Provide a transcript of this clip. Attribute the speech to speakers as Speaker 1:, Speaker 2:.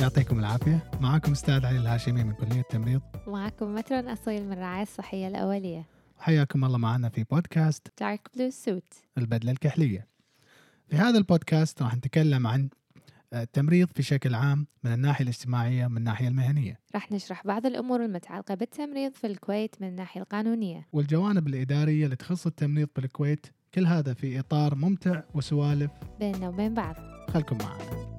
Speaker 1: يعطيكم العافية معكم أستاذ علي الهاشمي من كلية التمريض
Speaker 2: ومعكم مترون أصيل من الرعاية الصحية الأولية
Speaker 1: حياكم الله معنا في بودكاست
Speaker 2: دارك بلو سوت
Speaker 1: البدلة الكحلية في هذا البودكاست راح نتكلم عن آه، التمريض في شكل عام من الناحية الاجتماعية من الناحية المهنية
Speaker 2: رح نشرح بعض الأمور المتعلقة بالتمريض في الكويت من الناحية القانونية
Speaker 1: والجوانب الإدارية اللي تخص التمريض بالكويت كل هذا في إطار ممتع وسوالف
Speaker 2: بيننا وبين بعض
Speaker 1: خلكم معنا